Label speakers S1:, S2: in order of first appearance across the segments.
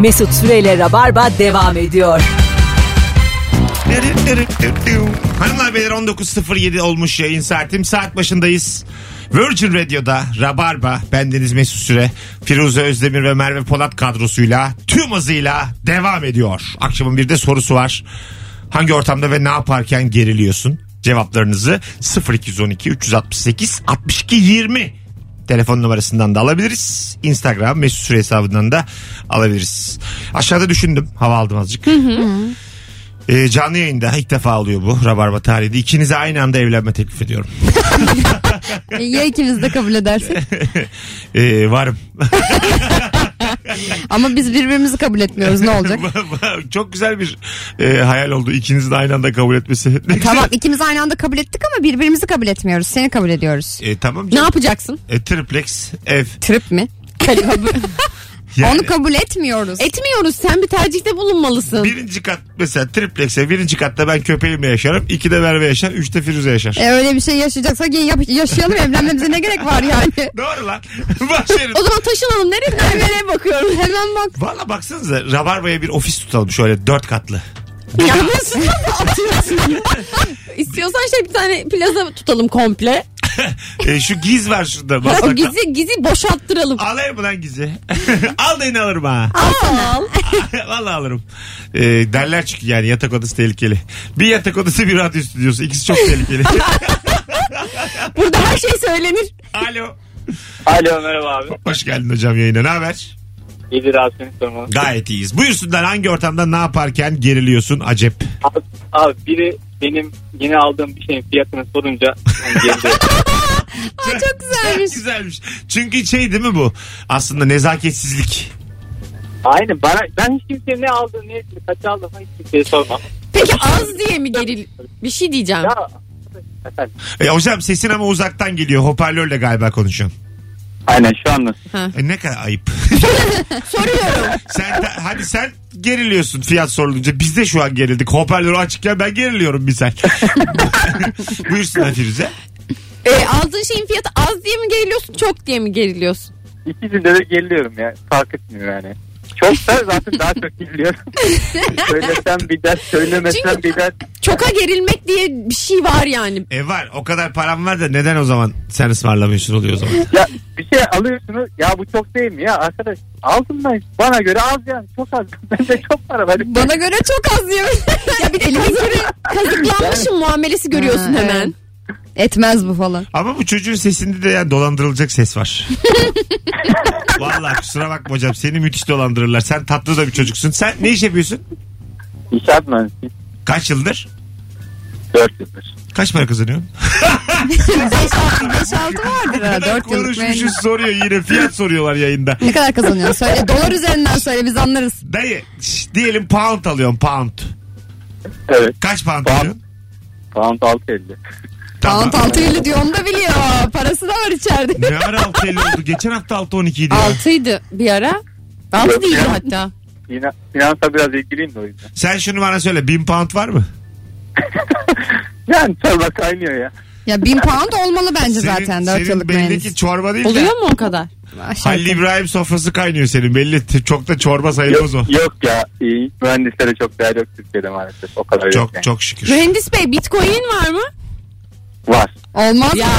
S1: Mesut Süreyle Rabarba devam ediyor.
S2: Hanımlar beyler 19.07 olmuş yayın saatim. Saat başındayız. Virgin Radio'da Rabarba, bendeniz Mesut Süre, Firuze Özdemir ve Merve Polat kadrosuyla tüm hızıyla devam ediyor. Akşamın bir de sorusu var. Hangi ortamda ve ne yaparken geriliyorsun? Cevaplarınızı 0212 368 62 20 telefon numarasından da alabiliriz. Instagram Mesut Süre hesabından da alabiliriz. Aşağıda düşündüm. Hava aldım azıcık. Ee, canlı yayında ilk defa oluyor bu Rabarba tarihinde. İkinize aynı anda evlenme teklif ediyorum.
S3: E, ya ikimiz de kabul edersek.
S2: Ee, varım.
S3: Ama biz birbirimizi kabul etmiyoruz ne olacak?
S2: Çok güzel bir e, hayal oldu. İkinizin aynı anda kabul etmesi. Ne güzel.
S3: tamam ikimiz aynı anda kabul ettik ama birbirimizi kabul etmiyoruz. Seni kabul ediyoruz.
S2: E, tamam
S3: Ne
S2: canım.
S3: yapacaksın?
S2: E, triplex ev.
S3: Trip mi?
S2: Yani
S3: Onu kabul etmiyoruz.
S4: Etmiyoruz. Sen bir tercihte bulunmalısın.
S2: birinci kat mesela triplex ev. Birinci katta ben köpeğimle yaşarım. İkide Merve yaşar. Üçte Firuze yaşar.
S3: E, öyle bir şey yaşayacaksak yine yap- yaşayalım evlenmemize ne gerek var yani?
S2: Doğru lan. Başarın.
S4: O zaman taşınalım. Nereye? Ben nereye bakıyorum?
S3: Hemen bak.
S2: Valla baksanıza Rabarba'ya bir ofis tutalım şöyle dört katlı.
S4: Yanlışlıkla mı atıyorsun ya? İstiyorsan şey bir tane plaza tutalım komple.
S2: E, şu giz var şurada.
S4: O
S2: baslakta.
S4: gizi gizi boşalttıralım.
S2: Alayım mı lan gizi? Al da yine alırım ha.
S4: Al.
S2: Valla alırım. Ee, derler çünkü yani yatak odası tehlikeli. Bir yatak odası bir radyo stüdyosu. İkisi çok tehlikeli.
S4: Burada her şey söylenir.
S2: Alo.
S5: Alo merhaba abi.
S2: Hoş geldin hocam yayına. Ne haber?
S5: İyidir abi seni sormalı.
S2: Gayet iyiyiz. Buyursunlar hangi ortamda ne yaparken geriliyorsun acep?
S5: Abi, abi biri benim yeni aldığım bir şeyin fiyatını sorunca hani geldi.
S3: çok güzelmiş.
S2: Güzelmiş. Çünkü şey değil mi bu? Aslında nezaketsizlik.
S5: Aynen bana ben hiç kimseye ne aldığını ne ettiğini, kaça aldım hiç kimseye sormam.
S4: Peki az diye mi geril? Bir şey diyeceğim.
S5: Ya efendim.
S2: E, hocam sesin ama uzaktan geliyor. Hoparlörle galiba konuşuyorsun.
S5: Aynen şu an nasıl?
S2: E, ne kadar ayıp.
S4: Soruyorum.
S2: sen de- hadi sen geriliyorsun fiyat sorulunca. Biz de şu an gerildik. Hoparlörü açıkken ben geriliyorum bir sen. Buyursunlar Firuze.
S4: E, aldığın şeyin fiyatı az diye mi geriliyorsun? Çok diye mi geriliyorsun?
S5: İkisinde de geriliyorum ya. Fark etmiyor yani. Çok da zaten daha çok geriliyorum. Söylesem bir ders, söylemesem
S4: Çünkü-
S5: bir ders.
S4: Çoka gerilmek diye bir şey var yani.
S2: E var o kadar param var da neden o zaman sen ısmarlamıyorsun oluyor o zaman.
S5: Ya bir şey alıyorsunuz. Ya bu çok değil mi ya arkadaş? Aldım ben. Bana göre az yani. Çok az. Bende çok para var.
S3: Bana göre çok az diyor.
S4: Ya bir de kazık- kazıklanmışım muamelesi görüyorsun
S3: Ha,
S4: hemen.
S3: Etmez bu falan.
S2: Ama bu çocuğun sesinde de yani dolandırılacak ses var. Vallahi kusura bakma hocam seni müthiş dolandırırlar. Sen tatlı da bir çocuksun. Sen ne iş yapıyorsun?
S5: İnşaat mühendisi.
S2: Kaç yıldır?
S5: 4 yıldır.
S2: Kaç para kazanıyorsun?
S3: 5-6 vardır ha 4 yıllık
S2: Konuşmuşuz
S3: mevcut.
S2: soruyor yine fiyat soruyorlar yayında.
S3: Ne kadar kazanıyorsun? Söyle dolar üzerinden söyle biz anlarız.
S2: Dayı şş, diyelim pound alıyorsun pound.
S5: Evet.
S2: Kaç pound,
S5: Pound.
S2: alıyorsun?
S5: Pound 650.
S2: Tamam.
S3: Pound 650 diyor onu da biliyor. Parası da var içeride.
S2: Ne ara 6.50 oldu? Geçen hafta 6.12 idi ya.
S4: Altıydı bir ara. Altı
S5: Yok
S4: değildi
S5: ya.
S4: hatta.
S5: Yine finansa biraz ilgiliyim de o yüzden.
S2: Sen şunu bana söyle 1000 pound var mı?
S5: Yani çorba kaynıyor ya.
S3: Ya 1000 pound olmalı bence
S2: Senin-
S3: zaten 4
S2: Senin
S3: yıllık
S2: belli
S3: mühendis.
S2: ki çorba değil de.
S4: Oluyor mu o kadar?
S3: Aşağı
S2: Halil İbrahim sofrası kaynıyor senin belli. T- Çok da çorba sayılmaz o.
S5: Yok, yok ya. İyi. Mühendislere çok değer yok Türkiye'de maalesef. O kadar yok.
S2: Çok
S5: yani.
S2: çok şükür.
S4: Mühendis Bey bitcoin var mı?
S5: Var.
S3: Olmaz
S4: Ya.
S3: mı?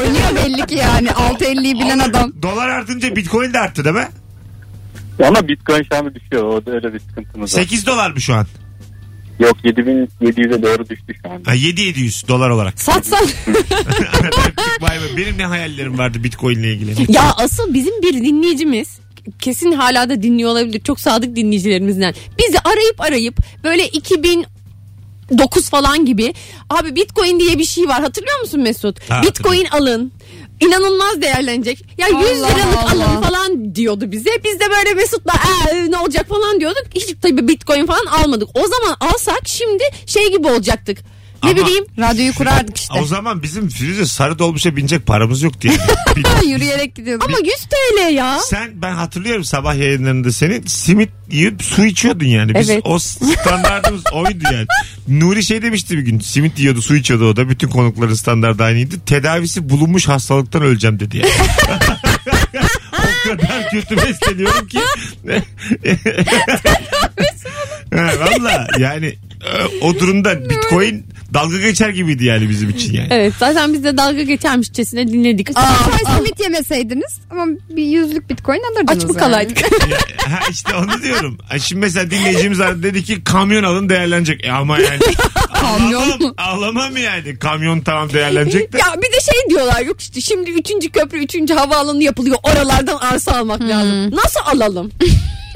S3: Oynuyor belli ki yani 6.50'yi bilen adam.
S2: Dolar artınca bitcoin de arttı değil mi?
S5: Ama bitcoin şu anda düşüyor. Orada öyle bir sıkıntımız var.
S2: 8 dolar mı şu an?
S5: Yok 7700'e doğru düştü şu anda.
S2: Ha, 7700 dolar olarak.
S4: Satsan.
S2: Öptük, bay bay. Benim ne hayallerim vardı bitcoin ile ilgili.
S4: ya asıl bizim bir dinleyicimiz kesin hala da dinliyor olabilir. Çok sadık dinleyicilerimizden. Bizi arayıp arayıp böyle 2000 9 falan gibi. Abi Bitcoin diye bir şey var. Hatırlıyor musun Mesut?
S2: Ha,
S4: Bitcoin alın. İnanılmaz değerlenecek. Ya 100
S3: Allah
S4: liralık
S3: Allah.
S4: alın falan diyordu bize. Biz de böyle Mesut'la "Ee, ne olacak falan diyorduk. Hiç tabii Bitcoin falan almadık. O zaman alsak şimdi şey gibi olacaktık. Ne
S2: Ama-
S4: bileyim
S3: Radyoyu kurardık işte.
S2: O zaman bizim Firuze sarı dolmuşa binecek paramız yok diye. Bir-
S3: Yürüyerek gidiyorduk.
S4: ama 100 TL ya.
S2: Sen ben hatırlıyorum sabah yayınlarında seni simit yiyip su içiyordun yani. Biz
S4: Evet.
S2: o standartımız oydu yani. Nuri şey demişti bir gün simit yiyordu su içiyordu o da bütün konukların standartı aynıydı. Tedavisi bulunmuş hastalıktan öleceğim dedi yani. o kadar kötü besleniyorum ki. ha, Valla yani e, o durumda bitcoin dalga geçer gibiydi yani bizim için yani.
S4: Evet zaten biz de dalga geçermişçesine dinledik.
S3: Bitcoin simit yemeseydiniz ama bir yüzlük bitcoin alırdınız.
S4: Aç mı
S3: yani.
S4: kalaydık?
S2: Ha işte onu diyorum. Ha, Şimdi mesela dinleyicimiz aradı dedi ki kamyon alın değerlenecek. E ama yani.
S4: Kamyon mu?
S2: Ağlamam, ağlamam yani. Kamyon tamam değerlenecek de.
S4: ya bir de şey diyorlar yok işte şimdi 3. köprü 3. havaalanı yapılıyor. Oralardan arsa almak
S3: Hmm.
S4: lazım. Nasıl alalım?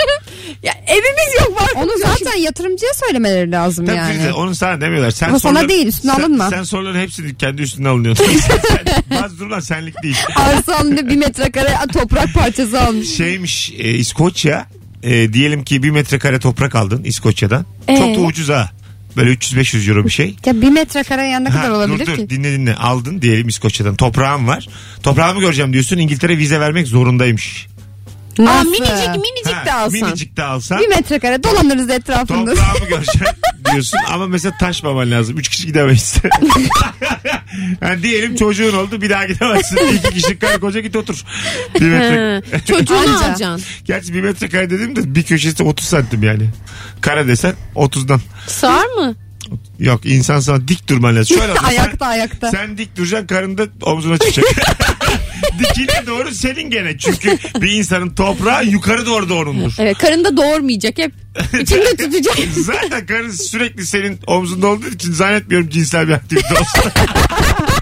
S4: ya evimiz yok var.
S3: Onu zaten yatırımcıya söylemeleri lazım
S2: Tabii
S3: yani.
S2: Firuze, onu sana demiyorlar. Sen
S3: Ama sana
S2: soruların-
S3: değil, üstüne
S2: sen-
S3: alınma.
S2: Sen soruların hepsini kendi üstüne alınıyorsun. Sen- sen- Bazı durumlar senlik değil.
S3: Arsamda bir metrekare toprak parçası almış.
S2: Şeymiş e, İskoçya e, diyelim ki bir metrekare toprak aldın İskoçya'dan.
S3: Ee?
S2: Çok da ucuz ha. Böyle 300-500 euro bir şey.
S3: Ya bir metrekare yani ne kadar
S2: Ha,
S3: olabilir
S2: dur, dur,
S3: ki?
S2: Dinle dinle aldın diyelim İskoçya'dan. Toprağım var. Toprağımı göreceğim diyorsun İngiltere vize vermek zorundaymış.
S4: Aa,
S3: Nasıl?
S4: minicik minicik de
S2: Ha,
S4: alsan.
S2: Minicik de alsan.
S3: Bir metrekare dolanırız etrafında.
S2: Toprağımı göreceğim diyorsun ama mesela taşmaman lazım. Üç kişi gidemeyiz. yani diyelim çocuğun oldu bir daha gidemezsin. İki kişi karı koca git otur. Bir metre.
S4: Ha, çocuğunu
S3: Anca.
S4: alacaksın.
S2: Gerçi bir metre kare dedim de bir köşesi 30 santim yani. Kare desen 30'dan.
S4: Sığar mı?
S2: Yok insan sana dik durman lazım. Şöyle olacak.
S3: ayakta ayakta.
S2: Sen, sen dik duracaksın karın da omzuna çıkacak. Dikine doğru senin gene. Çünkü bir insanın toprağı yukarı doğru da onundur.
S4: Evet karında doğurmayacak hep. İçinde tutacak.
S2: Zaten karın sürekli senin omzunda olduğu için zannetmiyorum cinsel bir aktivite olsun.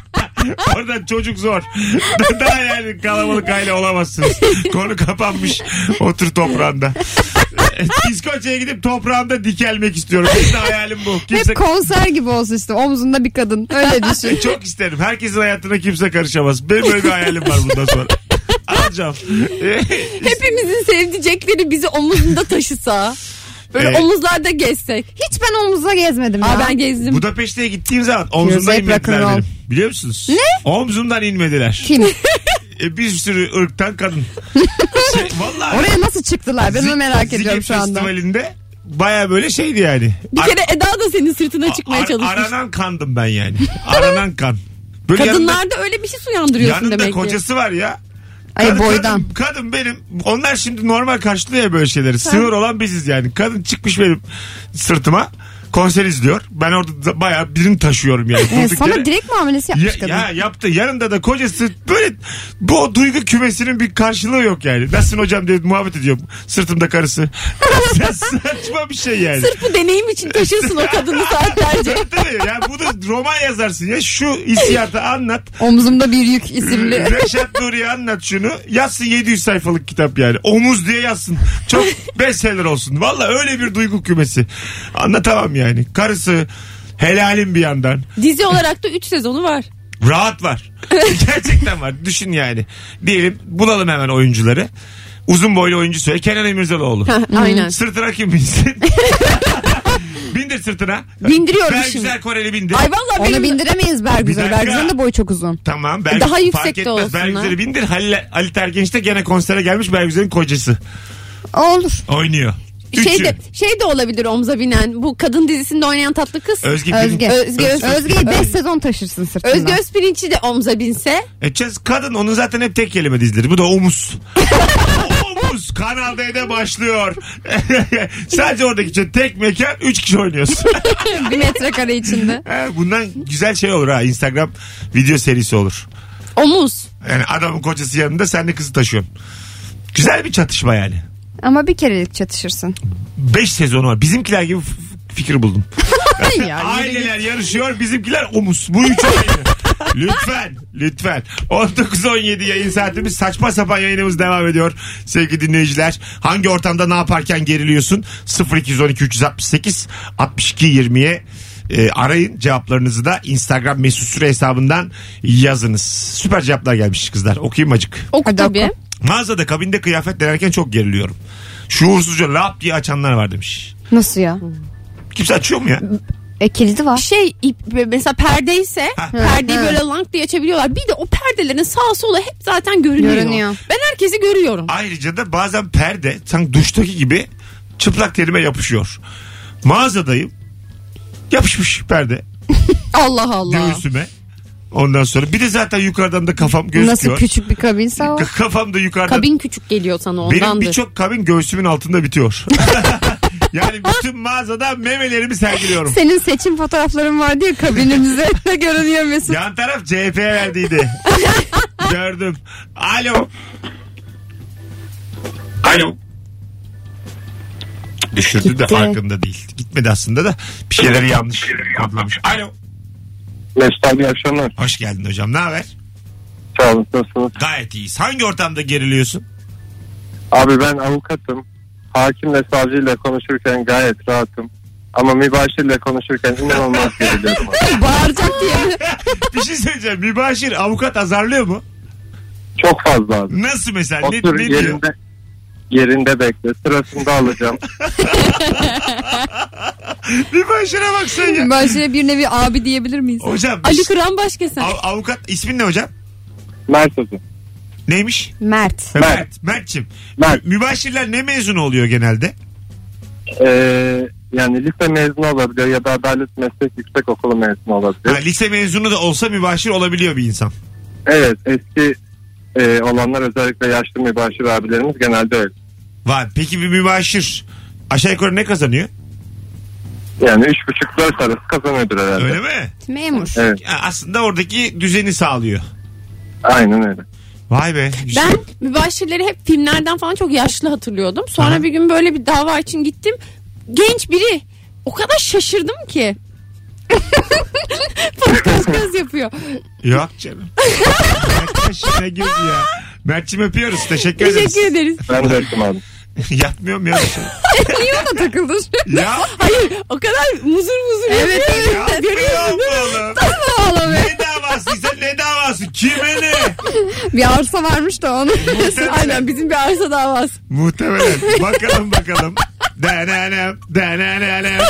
S2: Oradan çocuk zor. Daha yani kalabalık aile olamazsınız. Konu kapanmış. Otur toprağında. İskoçya'ya gidip toprağımda dikelmek istiyorum. Benim de hayalim bu. Kimse Şey,
S3: Hep konser gibi olsun işte omzunda bir kadın öyle düşün.
S2: çok isterim. Herkesin hayatına kimse karışamaz. Benim böyle bir hayalim var bundan sonra. Alacağım.
S4: Hepimizin sevdicekleri bizi omuzunda taşısa. Böyle
S2: Evet.
S4: omuzlarda gezsek.
S3: Hiç ben omuzla gezmedim ya.
S4: Aa ben gezdim.
S2: Budapeşte'ye gittiğim zaman omzumdan
S3: Yüzey
S2: inmediler
S3: rock'n'roll.
S2: benim. Biliyor musunuz? Ne? Omzumdan inmediler.
S3: Kim?
S2: E, bir sürü ırktan kadın. Şey, Vallahi.
S3: Oraya nasıl çıktılar? Ben onu
S2: Zi-
S3: merak
S2: Zige
S3: ediyorum şu anda.
S2: Festivali'nde baya böyle şeydi yani.
S4: Bir
S2: Ar-
S4: kere Eda da senin sırtına çıkmaya
S2: ar-
S4: çalışmış.
S2: Aranan kandım ben yani. Aranan kan. Böyle yanında-
S4: Kadınlarda öyle bir şey uyandırıyorsun
S2: yanında,
S4: demek ki.
S2: kocası var ya.
S3: Ay
S2: Kadın-
S3: boydan.
S2: Kadın, kadın benim. Onlar şimdi normal karşılıyor ya böyle şeyleri. Sınır olan biziz yani. Kadın çıkmış benim sırtıma. Konser izliyor. Ben orada da bayağı birini taşıyorum yani.
S3: Ee,
S2: Durduk yere-
S3: sana direkt muamelesi
S2: ya,
S3: yapmış kadın.
S2: ya yaptı. Yanında da kocası böyle bu o duygu kümesinin bir karşılığı yok yani. Nasılsın hocam diye muhabbet ediyor. Sırtımda karısı. Sa- Saçma bir şey yani.
S4: Sırf bu deneyim için taşırsın o kadını saatlerce.
S2: Tabii tabii. Yani bu da roman yazarsın ya. Şu hissiyatı anlat.
S3: Omzumda bir yük isimli.
S2: Reşat Nuri'ye anlat şunu. Yazsın 700 sayfalık kitap yani. Omuz diye yazsın. Çok bestseller olsun. Valla öyle bir duygu kümesi. Anlatamam yani. Karısı helalim bir yandan.
S4: Dizi olarak da 3 sezonu var.
S2: Rahat var. Gerçekten var. Düşün yani. Diyelim bulalım hemen oyuncuları. Uzun boylu oyuncu söyle. Kenan Emirzalıoğlu.
S4: Aynen.
S2: sırtına kim binsin? bindir sırtına.
S4: Bindiriyorum
S2: Bergüzar
S4: şimdi.
S2: Koreli bindir.
S4: Ay valla
S3: Onu
S4: benim...
S3: bindiremeyiz
S2: Bir
S3: Bergüzar.
S2: dakika.
S3: Bergüzar'ın da boyu çok uzun.
S2: Tamam. Berg-
S4: Daha
S2: fark
S4: yüksekte
S2: etmez.
S4: olsunlar.
S2: Bergüzar'ı bindir. Halil, Ali Tergenç de gene konsere gelmiş. Bergüzar'ın kocası.
S3: Olur.
S2: Oynuyor. Üçü.
S4: şey de, şey de olabilir omza binen bu kadın dizisinde oynayan tatlı kız.
S2: Özge.
S3: Özge.
S2: Özge.
S4: Özge-
S3: Özge'yi 5 sezon taşırsın sırtında.
S4: Özge Özpirinç'i de omza binse.
S2: kadın onun zaten hep tek kelime dizileri. Bu da omuz. omuz. Kanal D'de başlıyor. Sadece oradaki için tek mekan 3 kişi oynuyorsun.
S3: bir metrekare içinde.
S2: Ha, Bundan güzel şey olur ha. Instagram video serisi olur.
S4: Omuz.
S2: Yani adamın kocası yanında sen de kızı taşıyorsun. Güzel bir çatışma yani.
S3: Ama bir kerelik çatışırsın.
S2: 5 sezonu var. Bizimkiler gibi f- fikir buldum.
S3: Ay ya,
S2: Aileler yarışıyor bizimkiler omuz. Bu üç aynı. Lütfen, lütfen. 19-17 yayın saatimiz saçma sapan yayınımız devam ediyor. Sevgili dinleyiciler, hangi ortamda ne yaparken geriliyorsun? 0212 368 62 20'ye e, arayın cevaplarınızı da Instagram mesut süre hesabından yazınız. Süper cevaplar gelmiş kızlar. Okuyayım acık.
S4: Oku
S3: Hadi
S4: tabii.
S3: oku.
S2: Mağazada kabinde kıyafet denerken çok geriliyorum. Şuursuzca lap diye açanlar var demiş.
S3: Nasıl ya?
S2: Kimse açıyor mu ya?
S3: E kilidi var.
S4: Şey ip- mesela perdeyse
S2: Ah. Ha.
S4: perdeyi
S3: Ha.
S4: böyle lang diye açabiliyorlar. Bir de o perdelerin sağa sola hep zaten görünüyor.
S3: Görünüyor.
S4: Ben herkesi görüyorum.
S2: Ayrıca da bazen perde sanki duştaki gibi çıplak terime yapışıyor. Mağazadayım. Yapışmış perde
S4: Allah Allah.
S2: göğsüme. Ondan sonra bir de zaten yukarıdan da kafam
S3: Nasıl
S2: gözüküyor.
S3: küçük bir kabinse o.
S2: Kafam da yukarıdan.
S4: Kabin küçük geliyor sana
S2: Benim
S4: ondandır.
S2: birçok kabin göğsümün altında bitiyor. yani bütün mağazada memelerimi sergiliyorum.
S3: Senin seçim fotoğrafların var diye kabinimize de görünüyor Mesut.
S2: Yan taraf CHP verdiydi. Gördüm. Alo. Alo. Düşürdüm de
S3: Gitti.
S2: farkında değil. Gitmedi aslında da bir şeyleri yanlış kodlamış. Alo.
S5: Mesut abi iyi akşamlar.
S2: Hoş geldin hocam. Ne haber?
S5: Sağ olun. Nasılsınız?
S2: Gayet iyiyiz. Hangi ortamda geriliyorsun?
S5: Abi ben avukatım. Hakimle savcıyla konuşurken gayet rahatım. Ama mübaşirle konuşurken inanılmaz geriliyorum. abi.
S3: Bağıracak diye.
S2: bir şey söyleyeceğim. Mübaşir avukat azarlıyor mu?
S5: Çok fazla abi.
S2: Nasıl mesela? Ne,
S5: Otur
S2: ne diyor?
S5: yerinde yerinde bekle. Sırasında alacağım.
S2: Mübaşire bak sen ya.
S3: Başına bir nevi abi diyebilir miyiz?
S2: Hocam
S4: Ali Kıran Başkesen.
S2: av- avukat ismin ne hocam?
S5: Mert hocam.
S2: Neymiş? Mert.
S3: Mert.
S5: Mert.
S2: Mert Mert'cim.
S5: Mert.
S2: Mü- Mübaşirler ne mezunu oluyor genelde?
S5: Ee, yani lise mezunu olabiliyor ya da Adalet Meslek Yüksek Okulu mezunu
S2: Ha,
S5: olabiliyor.
S2: lise mezunu da olsa mübaşir olabiliyor bir insan.
S5: Evet eski e, olanlar özellikle yaşlı mübaşir abilerimiz genelde öyle.
S2: Var. Peki bir mübaşir aşağı yukarı ne kazanıyor?
S5: Yani 3,5-4 arası kazanıyordur herhalde.
S2: Öyle mi?
S4: Memur.
S5: Evet
S2: Ya aslında oradaki düzeni sağlıyor.
S5: aynen öyle.
S2: Vay be. şey güzel.
S4: Ben mübaşirleri hep filmlerden falan çok yaşlı hatırlıyordum. Sonra
S2: Aha.
S4: bir gün böyle bir dava için gittim. Genç biri. O kadar şaşırdım ki. Bana göz göz yapıyor.
S2: Yok canım. Mert yaşına girdi ya. Mert'cim öpüyoruz. Teşekkür ederiz.
S4: Teşekkür ederiz.
S5: Ben de öptüm abi.
S2: Yatmıyorum ya.
S3: Ona takıldı.
S2: ya.
S4: Hayır o kadar muzur muzur evet, yapıyor. Evet.
S2: Yatmıyorum oğlum.
S3: Oğlum
S2: Ne davasıysa ne davası? Kime ne?
S3: bir arsa varmış da onu.
S4: Aynen bizim bir arsa davası.
S2: Muhtemelen. Bakalım bakalım. Denenem, denenem.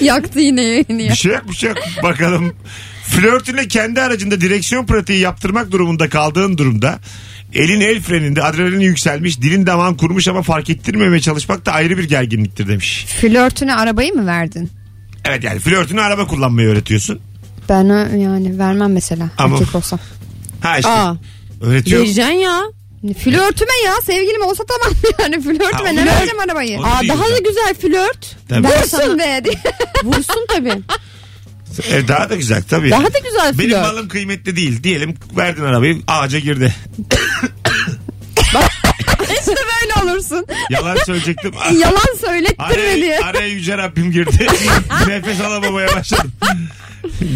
S3: Yaktı yine yayını ya.
S2: Bir şey yok, bir şey yok. Bakalım. Flörtüne kendi aracında direksiyon pratiği yaptırmak durumunda kaldığın durumda elin el freninde adrenalin yükselmiş, dilin damağın kurumuş ama fark ettirmemeye çalışmak da ayrı bir gerginliktir demiş.
S3: Flörtüne arabayı mı verdin?
S2: Evet yani flörtüne araba kullanmayı öğretiyorsun.
S3: Ben ö- yani vermem mesela.
S2: Ama-
S3: Erkek olsa.
S2: Ha işte.
S4: Aa,
S2: Öğretiyor.
S4: vereceksin ya.
S3: Flörtüme ya sevgilim olsa tamam yani flörtüme
S2: Ha,
S3: ne
S2: flört.
S3: vereceğim arabayı?
S2: Onu
S4: Aa,
S2: değil
S4: daha da
S2: zaten.
S4: güzel flört.
S2: Tabii.
S4: Ben sana-
S3: Vursun be diye.
S4: Vursun tabii.
S2: E, daha da güzel tabii.
S4: Daha da güzel
S2: Benim
S4: flört.
S2: malım kıymetli değil. Diyelim verdin arabayı ağaca girdi.
S3: işte böyle olursun.
S2: Yalan söyleyecektim.
S3: Yalan söylettirme diye.
S2: Araya, araya yüce Rabbim girdi. Nefes alamamaya başladım.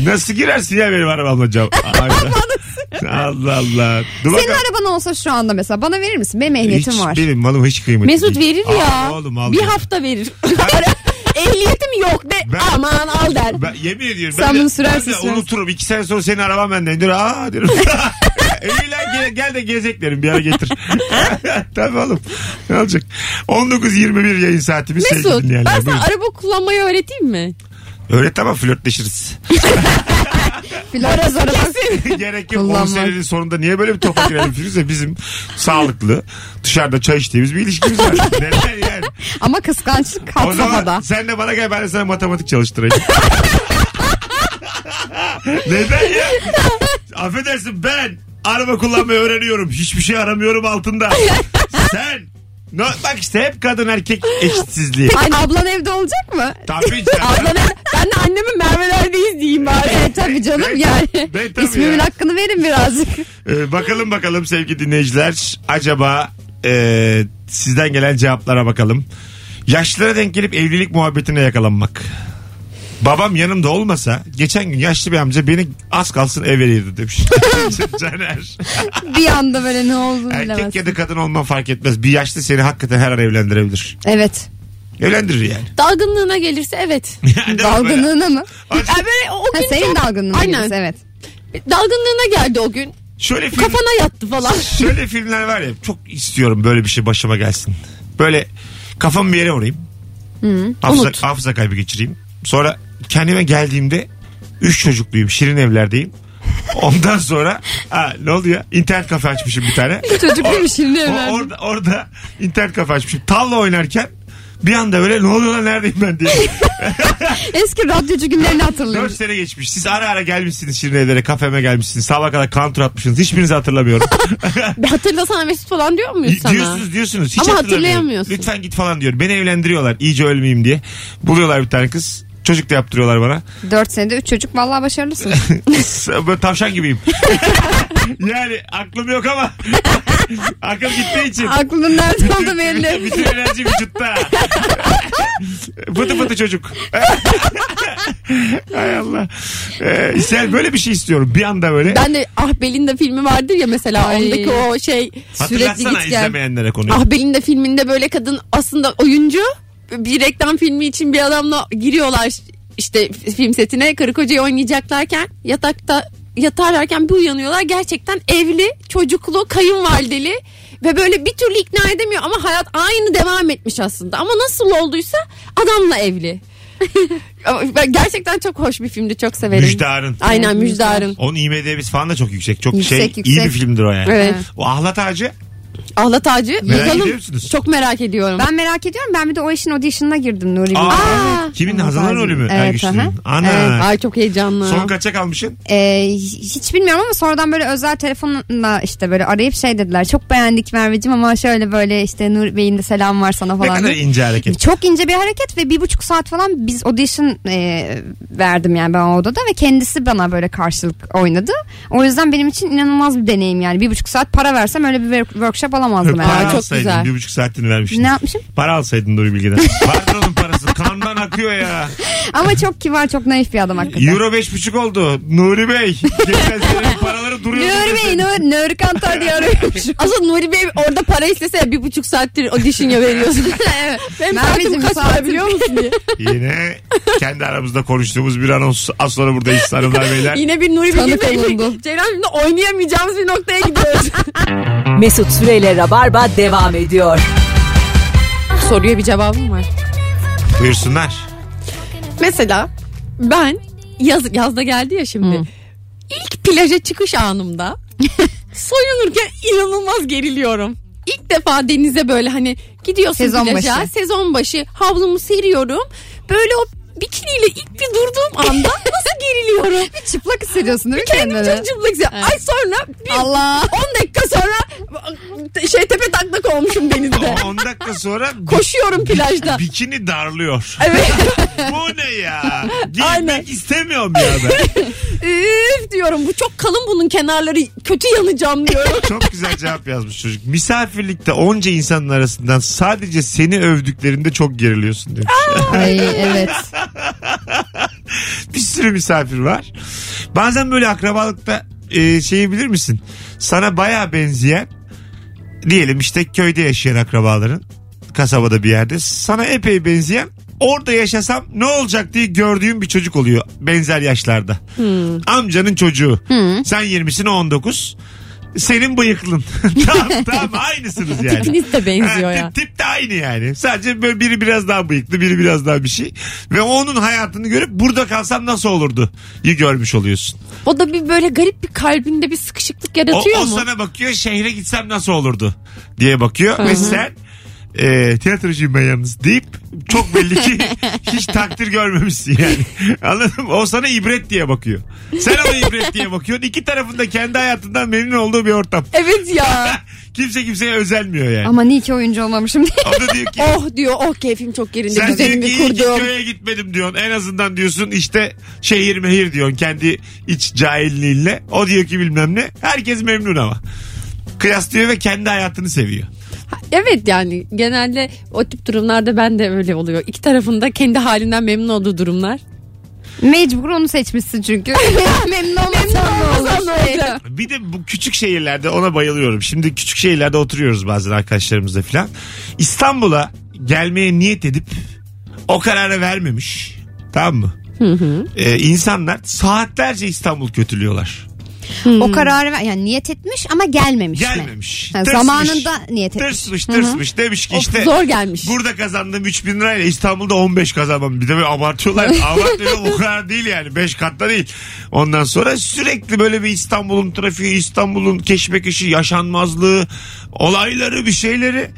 S2: Nasıl girersin ya benim arabamla cam? Allah Allah. Dur
S3: Senin
S2: bakalım.
S3: araban olsa şu anda mesela bana verir misin? Benim ehliyetim
S2: hiç,
S3: var.
S2: Benim malım hiç kıymetli
S4: Mesut
S2: değil.
S4: verir
S2: Al
S4: ya.
S2: oğlum, al
S4: bir
S2: ya.
S4: hafta verir. Ehliyetim yok de
S2: Ben-
S4: aman al der.
S2: Ben, yemin ediyorum.
S3: Sen
S2: ben de-
S3: bunu sürersin,
S2: ben de
S3: sürersin.
S2: unuturum. İki sene sonra senin araban benden. Dur aa derim. Eğlen gel, gel de gezek derim. Bir ara getir. Tabii oğlum. Ne olacak? 19.21 yayın saatimiz sevgili
S4: Mesut
S2: dinleyenler.
S4: ben sana
S2: Buyurun.
S4: araba kullanmayı öğreteyim mi?
S2: Öğret ama flörtleşiriz.
S3: Flört araba.
S2: Gerek yok.
S3: Kullanmak.
S2: 10 senenin sonunda niye böyle bir topa girelim Firuze? Bizim sağlıklı dışarıda çay içtiğimiz bir ilişkimiz var. Neden yani?
S3: Ama kıskançlık
S2: O zaman
S3: kat safhada.
S2: sen de bana gel ben de sana matematik çalıştırayım. Neden ya? Affedersin ben araba kullanmayı öğreniyorum. Hiçbir şey aramıyorum altında. sen No, bak işte hep kadın erkek eşitsizliği.
S3: Ay, ablan evde olacak mı?
S2: Tabii canım.
S4: Abla ben, ben de anneme Merve'lerdeyiz diyeyim bari.
S3: E, tabii canım
S2: Ben-
S3: yani.
S2: ben tabii
S3: İsmimin
S2: ya.
S3: hakkını verin birazcık.
S2: Ee, bakalım bakalım sevgili dinleyiciler. Acaba e, sizden gelen cevaplara bakalım. Yaşlılara denk gelip evlilik muhabbetine yakalanmak. Babam yanımda olmasa geçen gün yaşlı bir amca beni az kalsın evveliydi demiş. Caner.
S3: bir anda böyle ne olduğunu
S2: Erkek
S3: bilemez.
S2: ya da kadın olman fark etmez. Bir yaşlı seni hakikaten her an evlendirebilir.
S3: Evet.
S2: Evlendirir yani.
S4: Dalgınlığına gelirse evet.
S2: yani değil mi böyle?
S3: Dalgınlığına mı?
S2: Acı-
S4: Ya böyle o
S3: Ha,
S4: gün
S3: senin
S4: çok-
S3: dalgınlığın
S4: Aynen.
S3: Aynen. evet.
S4: Dalgınlığına geldi o gün.
S2: Şöyle film,
S4: Kafana yattı falan.
S2: şöyle filmler var ya çok istiyorum böyle bir şey başıma gelsin. Böyle kafamı bir yere vurayım. Hafıza,
S4: unut.
S2: hafıza kaybı geçireyim. Sonra kendime geldiğimde üç çocukluyum. Şirin evlerdeyim. Ondan sonra ha, ne oluyor? İnternet kafe açmışım bir tane.
S3: Çocuk değil mi şimdi
S2: O- orada, orada internet kafe açmışım. Tavla oynarken Bir anda böyle ne oluyor lan neredeyim ben diye.
S3: Eski radyocu günlerini
S2: 4
S3: hatırlıyorum.
S2: sene geçmiş. Siz ara ara gelmişsiniz Şirine'lere kafeme gelmişsiniz. Sabah kadar kantur atmışsınız. Hiçbirinizi hatırlamıyorum.
S4: Bir Hatırlasana Mesut falan diyor muyuz sana?
S2: diyorsunuz diyorsunuz. Hiç
S4: Ama
S2: hatırlamıyorum.
S4: hatırlayamıyorsun.
S2: Lütfen git falan diyor. Beni evlendiriyorlar iyice ölmeyeyim diye. Buluyorlar bir tane kız. Çocuk da yaptırıyorlar bana.
S3: 4 senede 3 çocuk vallahi başarılısın.
S2: Böyle tavşan gibiyim. yani aklım yok ama aklım gittiği için.
S3: Aklının nerede olduğu belli.
S2: Bütün enerji vücutta. Fıtı fıtı çocuk. Hay Allah. Ee, İsel böyle bir şey istiyorum. Bir anda böyle.
S4: Ben de Ah Belinda filmi vardır ya mesela
S3: Ay.
S4: ondaki o şey sürekli
S2: Hatırlatsana
S4: git gel.
S2: izlemeyenlere konuyu.
S4: Ah Belinda filminde böyle kadın aslında oyuncu bir reklam filmi için bir adamla giriyorlar işte film setine karı kocayı oynayacaklarken yatakta yatarlarken bir uyanıyorlar gerçekten evli çocuklu kayınvalideli ve böyle bir türlü ikna edemiyor ama hayat aynı devam etmiş aslında ama nasıl olduysa adamla evli. Ama ben gerçekten çok hoş bir filmdi çok severim.
S2: Müjdar'ın.
S4: Aynen Müjdar'ın.
S2: Onun IMDB'si falan da çok yüksek. Çok
S3: Yüksek,
S2: şey
S3: yüksek.
S2: iyi bir filmdir o yani.
S4: Evet.
S2: O Ahlat Ağacı
S4: Ahlat Ağacı.
S2: Merak
S4: Bakalım.
S2: ediyor musunuz?
S4: Çok merak ediyorum.
S3: Ben merak ediyorum. Ben bir de o işin audition'ına girdim Nuri.
S2: Aa,
S4: Aa.
S2: kimin
S3: Ahlat
S2: Hazan'ın
S3: Ağacı.
S2: rolü mü?
S3: Evet,
S2: Ergüçlü'nün.
S3: aha.
S2: Ana.
S4: Evet. Ay çok heyecanlı.
S2: Son kaça kalmışsın?
S3: Ee, hiç bilmiyorum ama sonradan böyle özel telefonla işte böyle arayıp şey dediler. Çok beğendik Merveciğim ama şöyle böyle işte Nur Bey'in de selam var sana
S2: Ne
S3: falan.
S2: kadar
S3: diye.
S2: ince hareket.
S3: Çok ince bir hareket ve bir buçuk saat falan biz audition e, verdim yani ben o odada ve kendisi bana böyle karşılık oynadı. O yüzden benim için inanılmaz bir deneyim yani. Bir buçuk saat para versem öyle bir work- workshop alamazdım
S2: Para
S3: herhalde.
S4: çok
S2: alsaydın
S4: güzel.
S2: bir buçuk saatini vermiştin.
S3: Ne yapmışım?
S2: Para alsaydın Nuri Bilge'den. Vardır onun parası. Kandan akıyor ya.
S3: Ama çok kibar çok naif bir adam hakikaten.
S2: Euro beş buçuk oldu. Nuri Bey. Geçen sene paraları duruyor.
S3: Nuri Bey, Nuri, Nuri Kantar diye arıyormuş.
S4: Aslında Nuri Bey orada para istese bir buçuk saattir audition'a veriyorsun. evet. Benim
S3: Merveciğim,
S4: saatim kaç para
S3: saatim-
S4: biliyor musun diye.
S2: Yine kendi aramızda konuştuğumuz bir anons. Az sonra buradayız hanımlar beyler.
S4: Yine bir Nuri
S3: Tanık
S4: Bilge
S3: olundu.
S4: Ceylan filmde oynayamayacağımız bir noktaya gidiyoruz.
S1: Mesut Süreyle Rabarba devam ediyor.
S4: Soruya bir cevabım var.
S2: Buyursunlar.
S4: Mesela ben yaz, yazda geldi ya şimdi. İlk plaja çıkış anımda soyunurken inanılmaz geriliyorum. İlk defa denize böyle hani gidiyorsun
S3: Sezon
S4: plaja.
S3: başı.
S4: Sezon başı havlumu seriyorum. Böyle o bikiniyle ilk bir durduğum anda nasıl geriliyorum.
S3: Bir çıplak hissediyorsun değil mi
S4: Kendim
S3: kendini?
S4: çok cıplak hissediyorum. Ay sonra bir
S3: Allah.
S4: 10 dakika sonra şey tepe taklak olmuşum denizde.
S2: 10 dakika sonra bi-
S4: Koşuyorum plajda.
S2: bikini darlıyor.
S4: Evet.
S2: Bu ne ya?
S4: Aynen.
S2: Giymek istemiyorum ya ben.
S4: Üf diyorum bu çok kalın bunun kenarları kötü yanacağım diyorum.
S2: Çok güzel cevap yazmış çocuk. Misafirlikte onca insanın arasından sadece seni övdüklerinde çok geriliyorsun demiş.
S3: Ay, evet.
S2: bir sürü misafir var. Bazen böyle akrabalıkta e, şeyi bilir misin? Sana baya benzeyen diyelim işte köyde yaşayan akrabaların kasabada bir yerde sana epey benzeyen orada yaşasam ne olacak diye gördüğüm bir çocuk oluyor benzer yaşlarda. Amcanın çocuğu. Sen 20'sin o 19. Senin bıyıklın. tamam tamam aynısınız yani.
S4: Tipiniz de benziyor
S2: Ha,
S4: ya.
S2: Tip, tip de aynı yani. Sadece böyle biri biraz daha bıyıklı, biri biraz daha bir şey. Ve onun hayatını görüp burada kalsam nasıl olurdu? İyi görmüş oluyorsun.
S4: O da bir böyle garip bir kalbinde bir sıkışıklık
S2: O,
S4: yaratıyor
S2: o
S4: mu?
S2: sana bakıyor şehre gitsem nasıl olurdu diye bakıyor ve sen e, tiyatrocuyum ben yalnız deyip çok belli ki hiç takdir görmemişsin yani. Anladın mı? O sana ibret diye bakıyor. Sen ona ibret diye bakıyorsun. İki tarafında kendi hayatından memnun olduğu bir ortam.
S4: Evet ya.
S2: Kimse kimseye özenmiyor yani.
S3: Ama niye ki oyuncu olmamışım diye.
S2: O da diyor ki
S4: oh diyor oh keyfim çok yerinde
S2: Sen diyorsun ki
S4: düzenimi
S2: iyi ki
S4: kurdum.
S2: köye gitmedim diyorsun. En azından diyorsun işte şehir mehir diyorsun kendi iç cahilliğinle. O diyor ki bilmem ne. Herkes memnun ama. Kıyaslıyor ve kendi hayatını seviyor.
S4: Evet yani genelde o tip durumlarda ben de öyle oluyor. İki tarafında kendi halinden memnun olduğu durumlar.
S3: Mecbur onu seçmişsin çünkü. Memnun olmasan ne olur?
S4: Sonra
S2: şey.
S4: olacak.
S2: Bir de bu küçük şehirlerde ona bayılıyorum. Şimdi küçük şehirlerde oturuyoruz bazen arkadaşlarımızla falan. İstanbul'a gelmeye niyet edip o kararı vermemiş. Tamam mı? Ee, insanlar saatlerce İstanbul kötülüyorlar.
S3: O kararı ver- yani niyet etmiş ama gelmemiş. mi?
S2: Gelmemiş.
S3: Ha,
S2: Tırsmış.
S3: zamanında niyet etmiş.
S2: Tırsmış tırsmış demiş ki
S4: Of,
S2: işte
S4: zor gelmiş.
S2: burada kazandığım 3000 lirayla İstanbul'da 15 kazanmam. Bir de böyle abartıyorlar. Abartıyorlar o kadar değil yani 5 katta değil. Ondan sonra sürekli böyle bir İstanbul'un trafiği İstanbul'un keşmekeşi yaşanmazlığı olayları bir şeyleri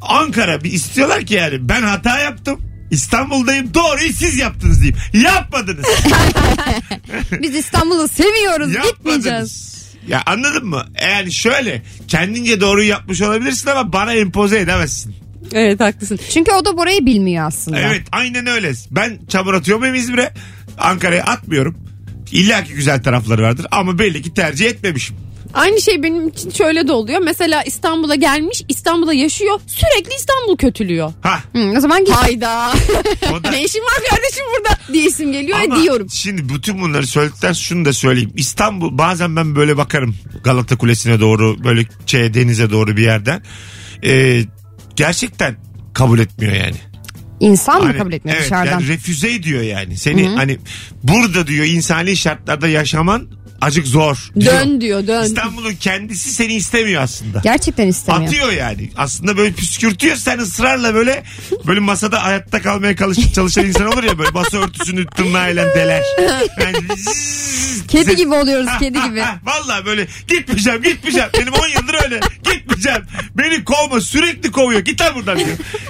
S2: Ankara bir istiyorlar ki yani ben hata yaptım. İstanbul'dayım doğruyu siz yaptınız diyeyim. Yapmadınız.
S3: Biz İstanbul'u seviyoruz gitmeyeceğiz.
S2: Yapmadınız. Ya anladın mı? Yani şöyle kendince doğruyu yapmış olabilirsin ama bana empoze edemezsin.
S4: Evet haklısın.
S3: Çünkü o da burayı bilmiyor aslında.
S2: Evet aynen öyle. Ben çamur atıyor muyum İzmir'e? Ankara'ya atmıyorum. İlla ki güzel tarafları vardır ama belli ki tercih etmemişim.
S4: Aynı şey benim için şöyle de oluyor. Mesela İstanbul'a gelmiş, İstanbul'a yaşıyor. Sürekli İstanbul kötülüyor.
S2: Ha
S3: Hı, Hmm, o zaman git.
S4: Hayda.
S2: o da...
S4: ne işin var kardeşim burada diye isim geliyor ve
S2: Ama
S4: diyorum.
S2: Şimdi bütün bunları söyledikten sonra şunu da söyleyeyim. İstanbul bazen ben böyle bakarım Galata Kulesi'ne doğru böyle şey, denize doğru bir yerden. Ee, gerçekten kabul etmiyor yani.
S3: İnsan mı
S2: Hani,
S3: kabul etmiyor
S2: evet,
S3: dışarıdan?
S2: Yani refüze ediyor yani. Seni hani burada diyor insani şartlarda yaşaman acık zor. diyor.
S4: Dön diyor, dön.
S2: İstanbul'un kendisi seni istemiyor aslında.
S3: Gerçekten istemiyor.
S2: Atıyor yani. Aslında böyle püskürtüyor sen ısrarla böyle böyle masada hayatta kalmaya çalış, çalışan insan olur ya böyle masa örtüsünü tırnağıyla deler. Yani zzz,
S3: Kedi
S2: sen-
S3: gibi oluyoruz
S2: Ha,
S3: kedi
S2: ha,
S3: gibi.
S2: ha. Vallahi böyle gitmeyeceğim gitmeyeceğim. Benim 10 yıldır öyle gitmeyeceğim. Beni kovma sürekli kovuyor. Git lan buradan diyor.